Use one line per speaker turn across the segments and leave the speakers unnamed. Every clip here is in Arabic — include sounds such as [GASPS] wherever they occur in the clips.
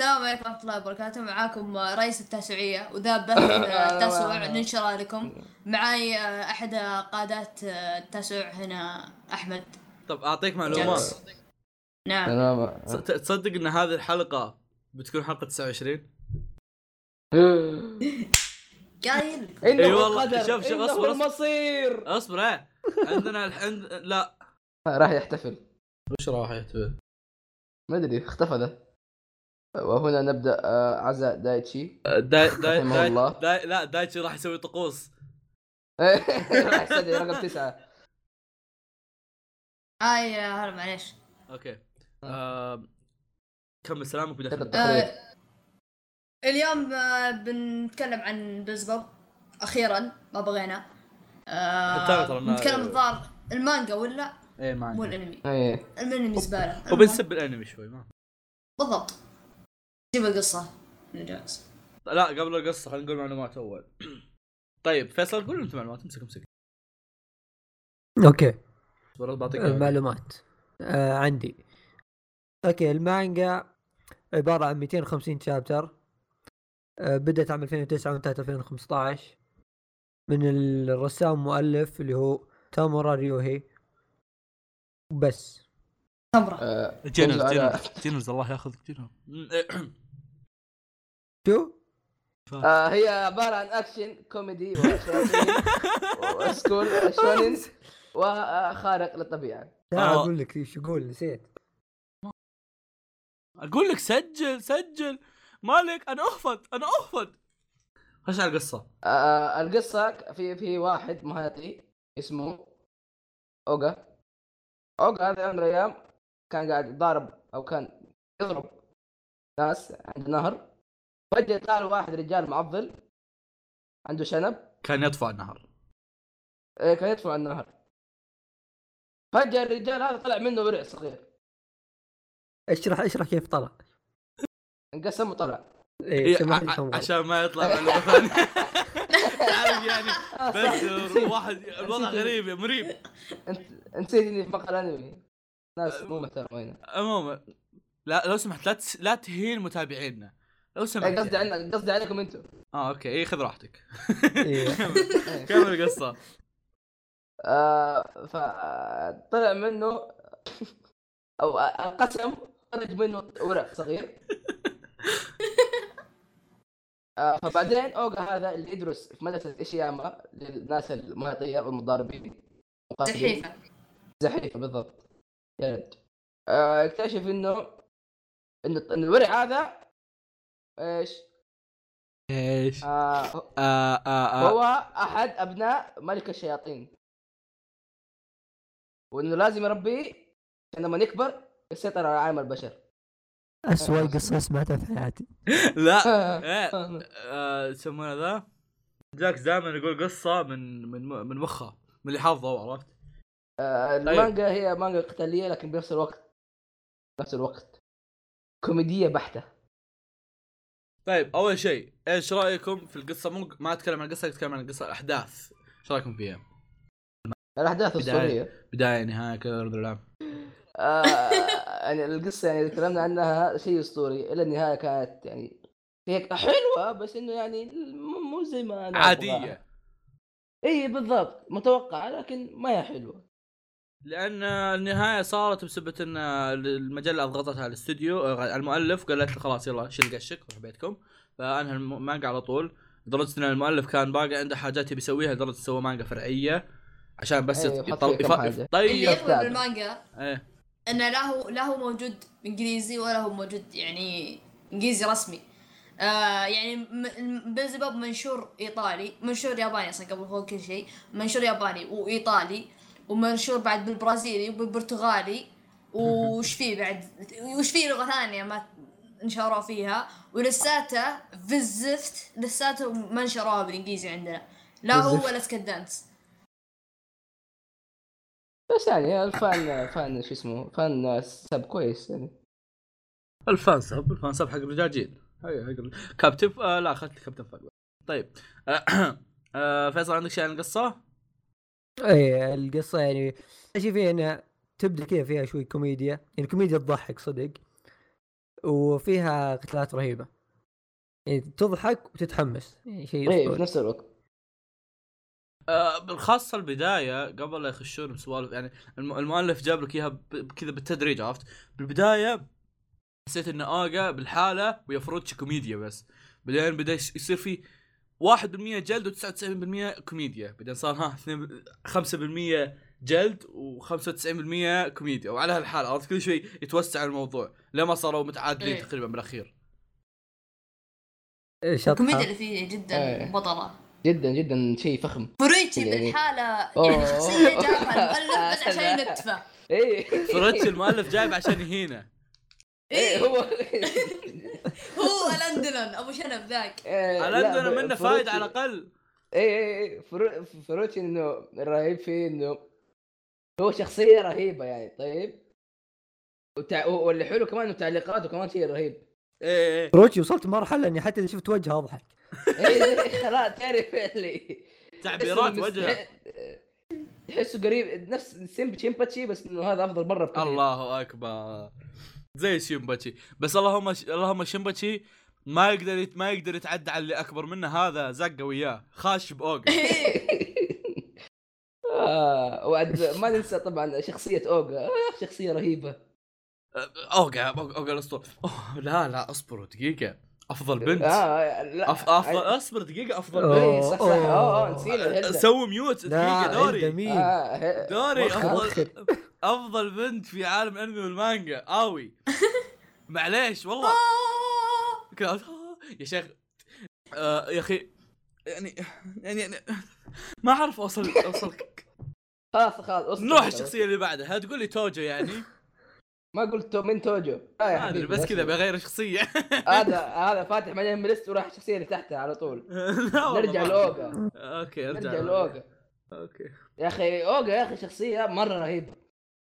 السلام عليكم ورحمة الله وبركاته معاكم رئيس التاسوعية وذا بث التاسوع ننشره لكم معاي آه، أحد قادات آه، التاسوع هنا أحمد
طب اعطيك معلومات
جالس. نعم
تمام
تص- تصدق ان هذه الحلقه بتكون حلقه 29
قايل
[GASPS] إنه
إي والله،
القدر،
شوف- شوف،
إنه
أصبر، أصبر.
المصير
اصبر ايه عندنا الحين لا
راح يحتفل
وش راح يحتفل؟
ما ادري اختفى ذا وهنا نبدا آه، عزاء دايتشي [LAUGHS]
داي داي
رحمه
داي,
الله.
داي لا دايتشي راح يسوي طقوس
راح يستدعي رقم تسعه
هاي آه، هلا معليش
اوكي آم، كمل سلامك بدي
كتب
أحمد.
تقرير
آه، اليوم آه، بنتكلم عن بزبب اخيرا ما بغينا آه،
حتى أنا ترى ما-
بنتكلم الظاهر المانجا ولا
ايه ما
مو
عندي.
الانمي
ايه
الانمي زباله المهم.
وبنسب الانمي شوي ما
بالضبط جيب القصه جالس
لا قبل القصه خلينا نقول معلومات اول طيب فيصل قول انت معلومات امسك امسك
اوكي
اصبر بعطيك
معلومات آه عندي اوكي المانجا عبارة عن 250 شابتر آه بدأت عام 2009 وانتهت 2015 من الرسام المؤلف اللي هو تامورا ريوهي بس
تمره
آه،
جينرز
على-
جينرز جينرز الله ياخذك جينرز إيه.
شو؟
آه، هي عباره عن اكشن كوميدي
[LAUGHS]
وشياطين، وسكول شونين وخارق للطبيعه
لا
آه.
اقول لك شو اقول نسيت
اقول لك سجل سجل مالك انا اهفت انا اهفت خش على القصه
آه، القصه في في واحد مهاتي اسمه اوغا اوغا هذا يوم من الايام كان قاعد يضارب او كان يضرب ناس عند النهر فجاه طلع له واحد رجال معضل عنده شنب
كان يطفى النهر
إيه، كان يطفو على النهر فجاه الرجال هذا طلع منه ورع صغير
اشرح اشرح كيف طلع
انقسم وطلع
ايه
إيه،
سمح لي
ع- ع-
تمر.
عشان ما يطلع معلومه
[LAUGHS]
ثانيه تعرف يعني بس
[LAUGHS]
واحد الوضع غريب يا مريب
انت نسيت اني في مقهى انمي ناس مو محترمين
عموما لا لو سمحت لا تس... لا تهين متابعينا لو سمحت
إيه، قصدي عنك قصدي عليكم انتم
اه اوكي اي خذ راحتك [LAUGHS]
إيه.
إيه.
كمل القصه
آه فطلع منه [LAUGHS] او انقسم خرج منه ورق صغير آه فبعدين اوغا هذا اللي يدرس في مدرسه ايشياما للناس المهاتيه والمضاربين مقاتلين.
سحيفه
زحيفه بالضبط يا رد آه، اكتشف انه ان إن الورع هذا ايش؟
ايش؟
آه هو-
آه آه آه.
هو احد ابناء ملك الشياطين وانه لازم يربيه عشان لما يكبر يسيطر على عالم البشر
[LAUGHS]
اسوأ قصة سمعتها في حياتي
[LAUGHS]
لا إيه. آه، يسمونه ذا جاك دائما يقول قصه من من من مخه من اللي حافظه هو، عرفت؟
آه، المانجا هي مانجا قتاليه لكن بنفس الوقت نفس الوقت كوميديه بحته
طيب اول شيء ايش رايكم في القصه مو ما اتكلم عن القصه اتكلم عن القصه الاحداث ايش رايكم فيها؟
الاحداث
بداية.
اسطوريه
بدايه نهايه كذا بلا بلا.
آه، يعني القصه يعني اللي تكلمنا عنها شيء اسطوري الى النهايه كانت يعني هيك حلوه بس انه يعني م- مو زي ما انا
عاديه
اي بالضبط متوقعه لكن ما هي حلوه
لان النهايه صارت بسبه ان المجله اضغطتها على الاستوديو آه، المؤلف قالت له خلاص يلا شيل قشك روح بيتكم فانهى المانجا على طول لدرجه ان المؤلف كان باقي عنده حاجات يبي يسويها لدرجه سوى مانجا فرعيه عشان بس
أيوة،
يط- طيب.
يحط فيها
يط-
كم حاجة.
اللي
يطيب
يقبل بالمانجا
ايه
انه لا هو لا هو موجود انجليزي ولا هو موجود يعني انجليزي رسمي آه يعني م- م- بلزباب منشور ايطالي منشور ياباني اصلا قبل فوق كل شيء منشور ياباني وايطالي ومنشور بعد بالبرازيلي وبالبرتغالي وش فيه بعد وش فيه لغه ثانيه ما انشروها فيها ولساته في الزفت لساته ما انشروها بالانجليزي عندنا لا هو
بالزفت.
ولا سكدانس
بس يعني الفان فان شو اسمه فان سب كويس يعني
الفان سب الفان سب حق الرجاجيل هاي- هاي قبل- كابتن آه لا اخذت كابتن فاجوة طيب [CLEARS THROAT] آه فيصل عندك شيء عن القصه؟
ايه القصة يعني ايش فيها انها تبدا كذا فيها شوي كوميديا يعني كوميديا تضحك صدق وفيها قتالات رهيبه يعني تضحك وتتحمس يعني شيء
اي إيه، في
اسطوري
نفس الوقت
آه، بالخاصه البدايه قبل لا يخشون بسوالف يعني الم- المؤلف جاب لك اياها ب- ب- كذا بالتدريج عرفت بالبدايه حسيت ان اوجا بالحاله ويا فروتش كوميديا بس بعدين بدا يس- يصير في 1% جلد و99% كوميديا بعدين صار ها اثنين ب- 5% جلد و95% كوميديا وعلى هالحاله عرفت كل شوي يتوسع الموضوع لما صاروا متعادلين
إيه.
تقريبا بالاخير
إيه، شطحة.
الكوميديا اللي فيه جدا
إيه.
بطله
جدا جدا شيء فخم
فريتشي
يعني-
بالحاله يعني
أوه.
شخصيه
[LAUGHS]
جابها المؤلف بس عشان ينتفه
[LAUGHS]
اي
فروتش المؤلف جايب عشان هنا
اي
إيه،
هو
هو الاندلن ابو شنب ذاك
إيه،
[LAUGHS] على
لا،
عندنا منه
فروتشي-
فايده على الاقل
اي اي اي فرو- فروتشي انه الرهيب فيه انه هو شخصيه رهيبه يعني طيب وتع... واللي حلو كمان انه تعليقاته كمان شيء رهيب
ايه ايه
روتشي وصلت مرحله اني حتى اذا شفت وجهه اضحك
إيه، إيه، [LAUGHS] خلاص تعرف اللي
تعبيرات
تحسه
وجهه
مستح- تحسه قريب نفس سيمب شيمباتشي بس انه هذا افضل مره بكثير
الله اكبر زي شيمباتشي بس اللهم ش... اللهم شيمباتشي ما يقدر يت... ما يقدر يتعدى على اللي اكبر منه هذا زقه وياه خاش باوجا
إيه،
[LAUGHS] آه وعد ما ننسى طبعا شخصيه اوغا آه شخصيه رهيبه
أه، اوجا اوجا الاسطوره أوه، لا لا اصبروا دقيقه افضل بنت
آه لا
أف... افضل اصبر دقيقه افضل بنت
إيه، صح صح
أوه.
اه آه، نسينا هيلدا.
سووا ميوت دقيقه
عند
دوري
مين
آه، هي-
دوري
وخ-
افضل افضل بنت في عالم الانمي والمانجا
[LAUGHS]
اوي معليش والله كلاود يا شيخ آه يا اخي يعني يعني يعني ما اعرف اوصل اوصل
[LAUGHS] خلاص خلاص أصبر.
نروح الشخصيه اللي بعدها تقول لي توجو
[LAUGHS]
يعني
ما قلت تو- من توجو آه يا
ما ادري
حبيبي،
بس كذا
أصبر.
بغير الشخصيه
هذا هذا فاتح مليان من ليست وراح الشخصيه اللي تحتها على طول
[LAUGHS] لا والله
نرجع
ما-
لاوغا
اوكي
نرجع
ارجع
لاوغا
اوكي
يا اخي اوغا يا اخي شخصيه مره رهيبه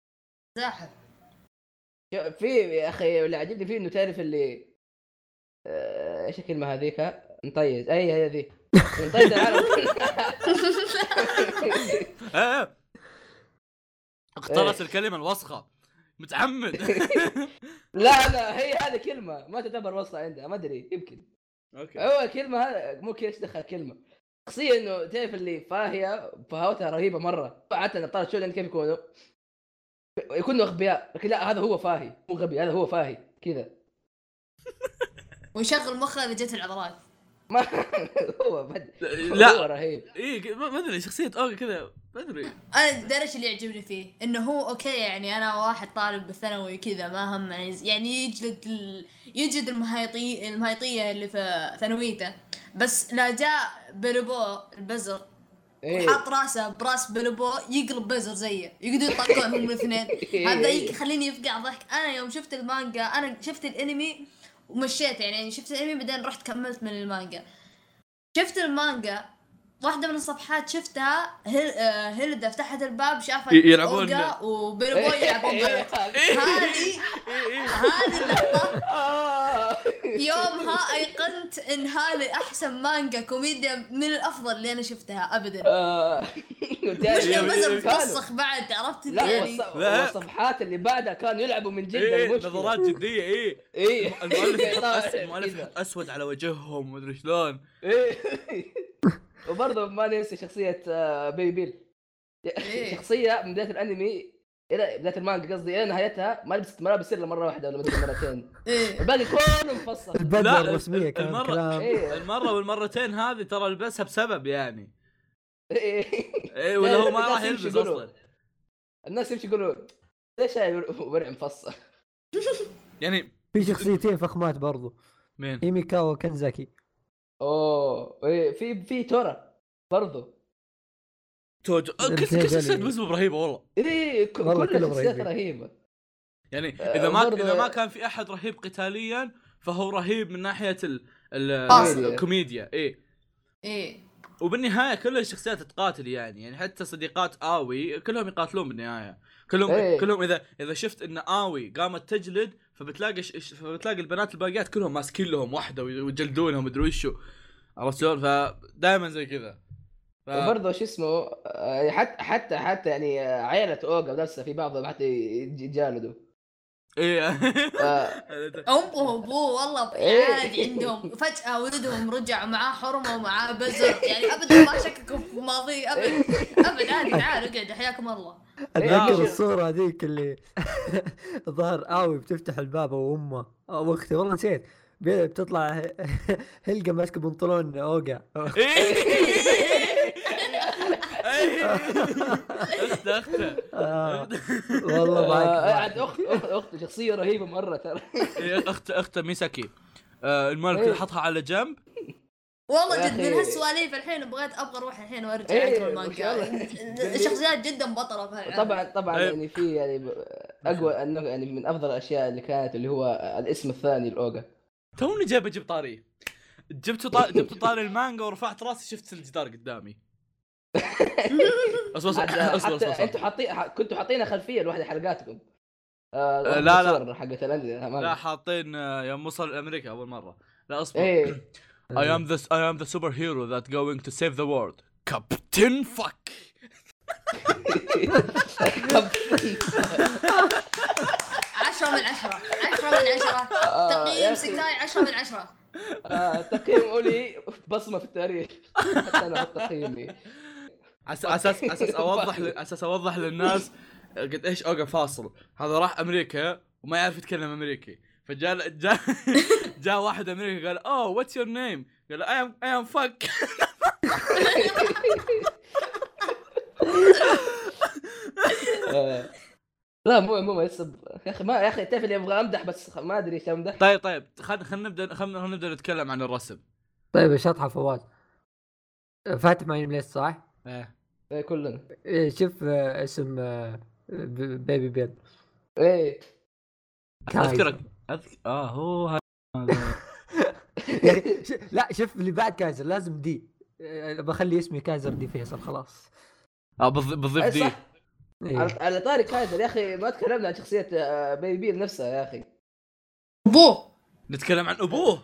[LAUGHS]
زاحف
في يا اخي اللي عجبني فيه انه تعرف اللي آه، ايش الكلمه هذيك نطيز اي هي ذي نطيز العالم
إيه، إيه. اخترت
إيه.
الكلمه الوسخه
[LAUGHS]
متعمد
[LAUGHS] لا لا هي هذه كلمه ما تعتبر وصله عندها ما ادري يمكن
اوكي
هو كلمه هذا مو كذا ايش دخل كلمه شخصيه انه تعرف اللي فاهيه فهوتها رهيبه مره حتى ابطال الشغل كيف يكونوا يكونوا اغبياء لكن لا هذا هو فاهي مو غبي هذا هو فاهي كذا [LAUGHS]
ويشغل مخه اذا جت العضلات
ما هو بد...
لا.
هو رهيب
اي إيه، ما ما ادري شخصيه اوغا كذا ما ادري
انا ده الشيء اللي يعجبني فيه انه هو اوكي يعني انا واحد طالب بالثانوي كذا ما هم يعني يجلد ال... يجلد المهايطي المهايطيه اللي في ثانويته بس لا جاء بلبو البزر
ايه
حاط راسه براس بلبو يقلب بزر زيه يقدروا يطقون هم الاثنين
إيه.
هذا يخليني يفقع ضحك انا يوم شفت المانجا انا شفت الانمي ومشيت يعني, يعني شفت الانمي بعدين رحت كملت من المانجا شفت المانجا واحدة من الصفحات شفتها هيل... آه، هيلدا فتحت الباب شافت
ي- يلعبون-
أوغا وبيلبو يلعبون بلعب.
[LAUGHS] إيه.
هذه
إيه،
[LAUGHS]
هذه اللقطة
آه.
يومها أيقنت إن هذه أحسن مانجا كوميديا من الأفضل اللي أنا شفتها أبدا
آه. وتعرف-
مش
يعني
بزر
كانوا-
مفسخ بعد عرفت
إيه. لا
اللي يعني
والص-
لا.
والصفحات اللي بعدها كانوا يلعبوا من جد
اي
المشكلة.
إيه، نظرات جديه
[LAUGHS]
اي
ايه
المؤلف
إيه،
يحط
طالع
أس- المؤلف
كذا.
يحط اسود على وجههم ومدري شلون
ايه وبرضه ما ننسى شخصية آه، بيبي بيل
إيه.
شخصية من بداية الانمي الى بداية المانجا قصدي الى نهايتها ما لبست ملابس الا مرة واحدة ولا مدري مرتين
إيه
الباقي كله مفصل
البدله
لا،
الرسميه
ال-
كان
المرة-
كلام
ايه
المره والمرتين هذه ترى لبسها بسبب يعني
إيه.
اي ولا هو ما
لا،
راح
لا،
يلبس
يمشي يقولوا.
اصلا
الناس يمشي يقولوا ليش هاي ورع مفصل
يعني
في شخصيتين فخمات برضو
مين؟
هيميكا وكنزاكي
اوه إيه، في في تورا برضه
توجو
ال-
كل كل
الجلي.
شخصية باسمه رهيبه والله
ايه ك-
والله
كل
كلهم
الشخصيات
رهيبين.
رهيبة
يعني
آه،
اذا ما
برضه-
اذا ما كان في احد رهيب قتاليا فهو رهيب من ناحيه ال ال-
آه.
الكوميديا اي
إيه
وبالنهايه كل الشخصيات تقاتل يعني يعني حتى صديقات اوي كلهم يقاتلون بالنهايه كلهم
إيه.
كلهم اذا اذا شفت ان اوي قامت تجلد فبتلاقي ش... ش- فبتلاقي البنات الباقيات كلهم ماسكين لهم واحده ويجلدونها ومدري وشو عرفت شلون فدائما زي كذا ف...
وبرضه شو اسمه آه، حتى حتى حتى يعني آه، عيلة اوغا نفسها في بعضهم حتى يتجالدوا
ايه
آه،
امه وابوه والله
إيه.
عادي عندهم فجاه ولدهم رجع معاه حرمه ومعاه بزر يعني ابدا ما شككوا في ماضي ابد ابد
[LAUGHS]
عادي تعال اقعد حياكم الله
اتذكر
إيه.
الصوره هذيك اللي [LAUGHS] الظاهر اوي بتفتح الباب وامه او اختي والله نسيت بي- بتطلع [LAUGHS] هلقه ماسكه بنطلون اوقع
اخت اخته
آه، والله معك
آه،
معك.
عاد اخت أخت- اخت شخصيه رهيبه مره
[LAUGHS]
ترى
اخت اخته ميساكي آه، المؤلف
إيه.
كذا حطها على جنب
والله
يا
جد من
أخي.
هالسواليف الحين بغيت ابغى اروح الحين وارجع
إيه،
اقرا
ما شاء الله.
المانجا [LAUGHS] شخصيات جدا بطله في هالعالم.
طبعا طبعا
أيوة.
يعني في يعني ب- اقوى انه يعني من افضل الاشياء اللي كانت اللي هو الاسم الثاني الاوجا
توني جاي بجيب طاري جبت طا... جبت طاري المانجا ورفعت راسي شفت الجدار
[LAUGHS]
قدامي اصبر
عاد،
اصبر اصبر,
حتى
أصبر.
انتوا حاطين ح- كنتوا حاطينها خلفيه لواحد حلقاتكم آه،
لا، لا.
الصور حقت الأندية.
لا حاطين آه، يوم وصل امريكا اول مره لا اصبر
ايه
[LAUGHS]
[LAUGHS]
I am the I am the superhero that going to save the world كابتن فك
عشرة من عشرة عشرة من عشرة
آه، يا
تقييم
أخي.
سكاي عشرة من عشرة
آه، تقييم اولي بصمه في التاريخ حتى انا تقييمي
عس- اساس اساس
[LAUGHS]
اوضح ل- اساس اوضح للناس قد ايش اوقع فاصل هذا راح امريكا وما يعرف يتكلم امريكي فجاء جاء [LAUGHS] جاء واحد امريكي قال "Oh, اوه واتس يور نيم قال اي ام اي ام فك
آه. لا مو مو ما يصب يا اخي ما يا اخي تعرف اللي ابغى امدح بس ما ادري ايش امدح
طيب طيب خلينا خلينا نبدا خلينا نبدا نتكلم عن الرسم
طيب الشطحه فواز فاتح معين ليش صح؟
ايه
إيه، كلنا
إيه، شوف آه، اسم آه، ب- بيبي بيل
ايه
اذكرك أذك... اه هو هذا
[LAUGHS] يعني ش- لا شوف اللي بعد كايزر لازم دي آه، بخلي اسمي كايزر دي فيصل خلاص
آه بض- بضيف
أي
دي
صح
إيه.
على- على طاري كايزر يا اخي ما تكلمنا عن شخصيه آه، بيبي بيل نفسها يا اخي
ابوه
نتكلم عن ابوه
[LAUGHS]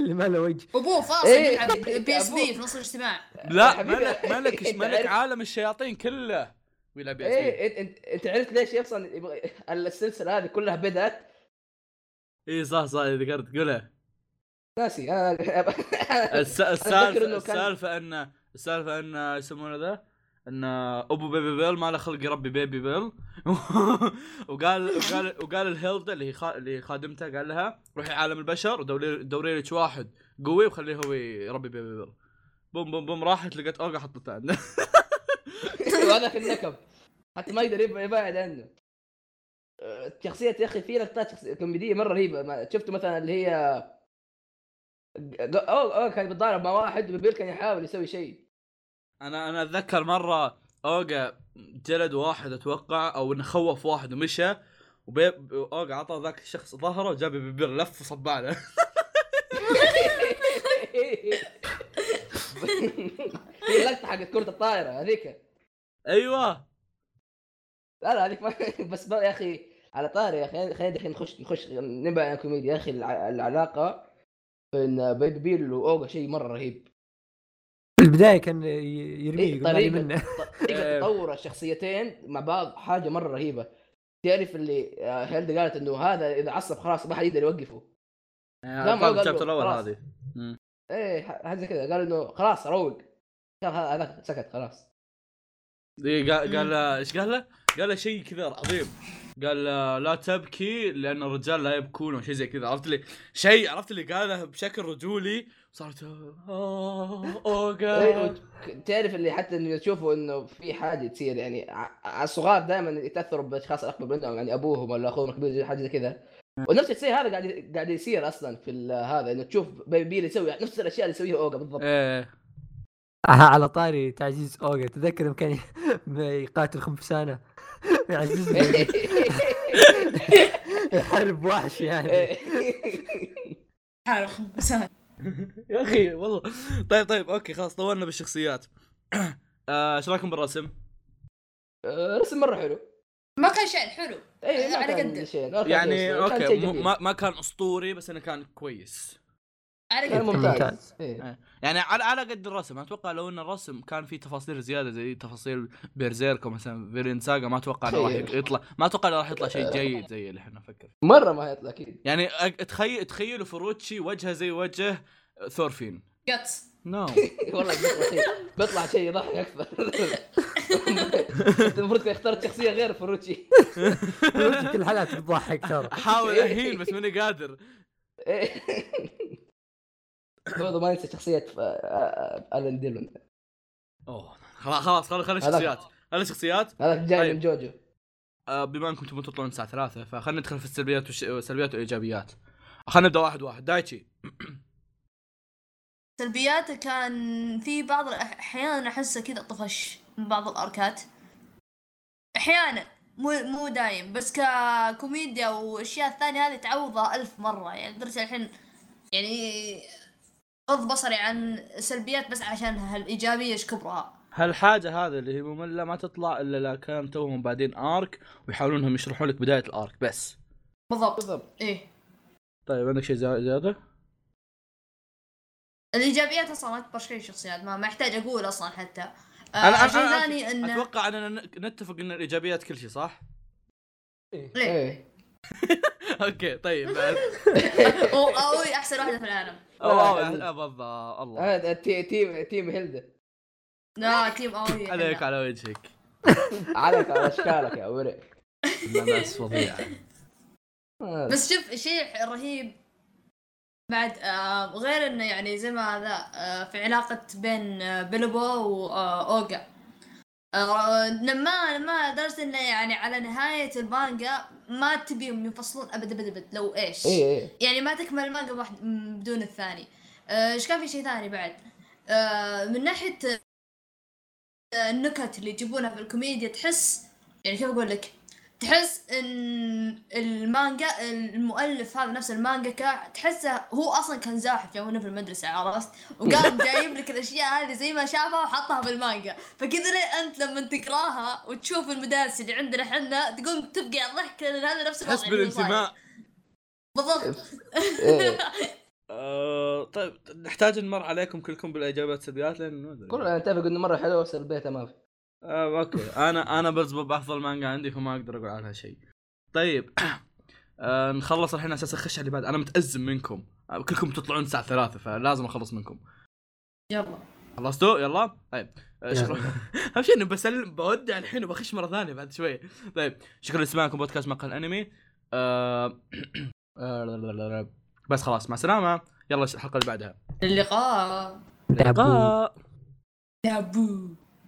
اللي ما له وجه
ابوه فاصل
إيه.
يلعب بي اس
أبوه.
دي في نص الاجتماع
لا
حبيبي،
ملك
[LAUGHS]
ملك
أنت
ملك
عارف-
عالم الشياطين كله ولا بي اس
ايه انت انت عرفت ليش اصلا يبغى السلسله هذه كلها بدات
اي إيه، صح صح ذكرت قولها
ناسي انا
الس-
أتذكر
السالفه
إنه كان-
السالفه ان السالفه ان يسمونه ذا ان ابو بيبي بيل ما له خلق يربي بيبي بيل [LAUGHS] وقال وقال وقال الهيلدا اللي هي خا- اللي خادمته قال لها روحي عالم البشر ودوري دوري لك واحد قوي وخليه هو يربي بيبي بيل بوم بوم بوم راحت لقيت اوقع حطته [LAUGHS] عنده
وهذاك أيوة، النكب حتى ما يقدر يبع- يبعد عنه آه، شخصية يا اخي في لقطات شخصية كوميدية مرة رهيبة ما- شفته مثلا اللي هي اوه اوه كان بيتضارب مع واحد وبيل كان يحاول يسوي شيء [LAUGHS]
انا انا اتذكر مره اوجا جلد واحد اتوقع او انه خوف واحد ومشى وبيب اوجا عطى ذاك الشخص ظهره وجاب بيبير لف وصب [LAUGHS] عليه
هي اللقطة حقت كرة الطائرة هذيك
ايوه
لا لا هذيك ما [LAUGHS] بس بقى يا اخي على طاري يا اخي خلينا دحين نخش نخش نبعد عن الكوميديا يا اخي الع- العلاقه بين بيبي بيل واوغا شيء مره رهيب
في البدايه كان ي-
إيه،
يرميه يقول مالي
طريقه
منه [LAUGHS] إيه.
طريقه تطور الشخصيتين مع بعض حاجه مره رهيبه تعرف اللي آه، هيلدا قالت انه هذا اذا عصب خلاص ما حد يقدر يوقفه
لا
ما
ما
قال له،
الشابتر الاول
خلاص.
هذه
ايه ح- حاجه زي كذا قال انه خلاص روق قال هذا- هذاك سكت خلاص
إيه، قال قال له- ايش قال له؟ قال له شيء كذا عظيم قال له، لا تبكي لان الرجال لا يبكون او شيء زي كذا عرفت لي شيء عرفت اللي قاله بشكل رجولي صارت آه،
إيه،
اوغا
وت- تعرف اللي حتى انه تشوفوا انه في حاجه تصير يعني ع- ع- الصغار دائما يتاثروا باشخاص الاكبر منهم يعني ابوهم ولا اخوهم الكبير زي- حاجه زي كذا ونفس الشيء هذا قاعد قاعد يصير اصلا في ال- هذا انه تشوف بيبي بيل يسوي نفس الاشياء اللي يسويها اوجا
[LAUGHS]
بالضبط
ايه
آه، على طاري تعزيز اوجا تذكر يوم كان [LAUGHS] يقاتل [LAUGHS] خنفسانه يعزز له، يحارب وحش
إيه.
[LAUGHS] يعني
[LAUGHS]
حارق مساء
يا اخي والله طيب طيب اوكي خلاص طولنا بالشخصيات [CLEARS THROAT] آه، ايش رايكم بالرسم؟
آه، رسم مره حلو
ما كان شيء حلو
اي ما
يعني على
كان
قده.
شيء ما كان شيء
يعني
أسطوري، كان شيء
اوكي مو-
جميل.
ما ما كان اسطوري بس انه كان كويس
على
كان
قد
ممتاز
ممتاز.
إيه.
يعني على على قد الرسم اتوقع لو ان الرسم كان فيه تفاصيل زياده زي تفاصيل بيرزيرك مثلا فيرين ساغا ما اتوقع انه راح
إيه.
يطلع ما اتوقع انه راح يطلع شيء جيد زي اللي احنا نفكر فيه.
مره ما يطلع اكيد
يعني أ- تخيل تخيلوا فروتشي وجهه زي وجه ثورفين
جاتس
نو
[LAUGHS]
[LAUGHS]
والله بيطلع شيء بيطلع شيء يضحك اكثر أنت [LAUGHS] المفروض كنت اخترت شخصيه غير فروتشي
كل الحلقات بتضحك ترى
احاول اهين بس ماني قادر
إيه. [LAUGHS] برضه ما ننسى شخصيه الن آه، ديلون
اوه خلاص خلاص خلينا خلينا
هذاك.
شخصيات خلينا شخصيات
هذا جاي
طيب.
من جوجو
آه، بما انكم تبون تطلعون الساعه 3 فخلينا ندخل في السلبيات والش... والسلبيات والايجابيات خلينا نبدا واحد واحد دايتشي
سلبياته كان في بعض الأح- احيانا احسه كذا طفش من بعض الاركات احيانا مو مو دايم بس ككوميديا واشياء ثانيه هذه تعوضها الف مره يعني لدرجه الحين يعني غض بصري عن سلبيات بس عشان هالايجابيه ايش كبرها
هالحاجة هذه اللي هي مملة ما تطلع الا لا كان توهم بعدين ارك ويحاولون انهم يشرحون لك بداية الارك بس.
بالضبط
بالضبط
ايه
طيب عندك شيء زي- زيادة؟
آه، الايجابيات اصلا اكبر شيء الشخصيات ما ما يحتاج اقول اصلا حتى
أنا- أنا-
آه، شيء
أنا
ثاني انه
اتوقع اننا ن- نتفق ان الايجابيات كل شيء صح؟ [LAUGHS]
إيه.
ايه
اوكي
[LAUGHS]
طيب بعد.
أو- اوي احسن واحده في العالم
أوه، أوه، بالضبط آه،
أه،
الله
هذا تي- تيم تيم هيلدا
لا تيم اوي
[LAUGHS] عليك
إحنا.
على وجهك
عليك على اشكالك يا ورع
لا، ناس فظيعة
آه،
بس شوف شيء رهيب بعد آه غير انه يعني زي ما هذا آه في علاقة بين آه بيلبو واوغا آه لما لما درجة انه يعني على نهاية المانجا ما تبيهم ينفصلون ابد ابد ابد لو ايش
ايه ايه
يعني ما تكمل المانجا واحد م- بدون الثاني آه، ايش كان في شيء ثاني بعد آه، من ناحيه آه، النكت اللي يجيبونها في الكوميديا تحس يعني كيف اقول لك تحس ان المانجا المؤلف هذا نفس المانجا كا- تحسه هو اصلا كان زاحف يوم إنه في المدرسه عرفت
[LAUGHS]
وقام جايب لك الاشياء هذه زي ما شافها وحطها بالمانجا فكذا ليه انت لما تقراها وتشوف المدارس اللي عندنا احنا تقوم تبقى الضحك لان هذا نفس الوضع
[LAUGHS] تحس
اللي هو صاير.
بالانتماء [LAUGHS]
بالضبط
إيه.
آه، طيب نحتاج نمر عليكم كلكم بالايجابيات والسلبيات لان ما ادري
كلنا نتفق انه مره حلوه بس البيت ما في
آه، اوكي انا انا بزبب افضل مانجا عندي فما اقدر اقول عنها شيء طيب [CLEARS THROAT] آه نخلص الحين اساس اخش على اللي بعد انا متازم منكم آه، كلكم تطلعون الساعه 3 فلازم اخلص منكم
يلا
خلصتوا يلا طيب آه،
يلا.
[LAUGHS] شكرا اهم شيء اني بسلم بودع الحين وبخش مره ثانيه بعد شوي طيب شكرا لسماعكم بودكاست مقهى الانمي آه [CLEARS THROAT] آه، بس خلاص مع السلامه يلا الحلقه اللي بعدها
اللقاء
تابو.
لقاء
تابو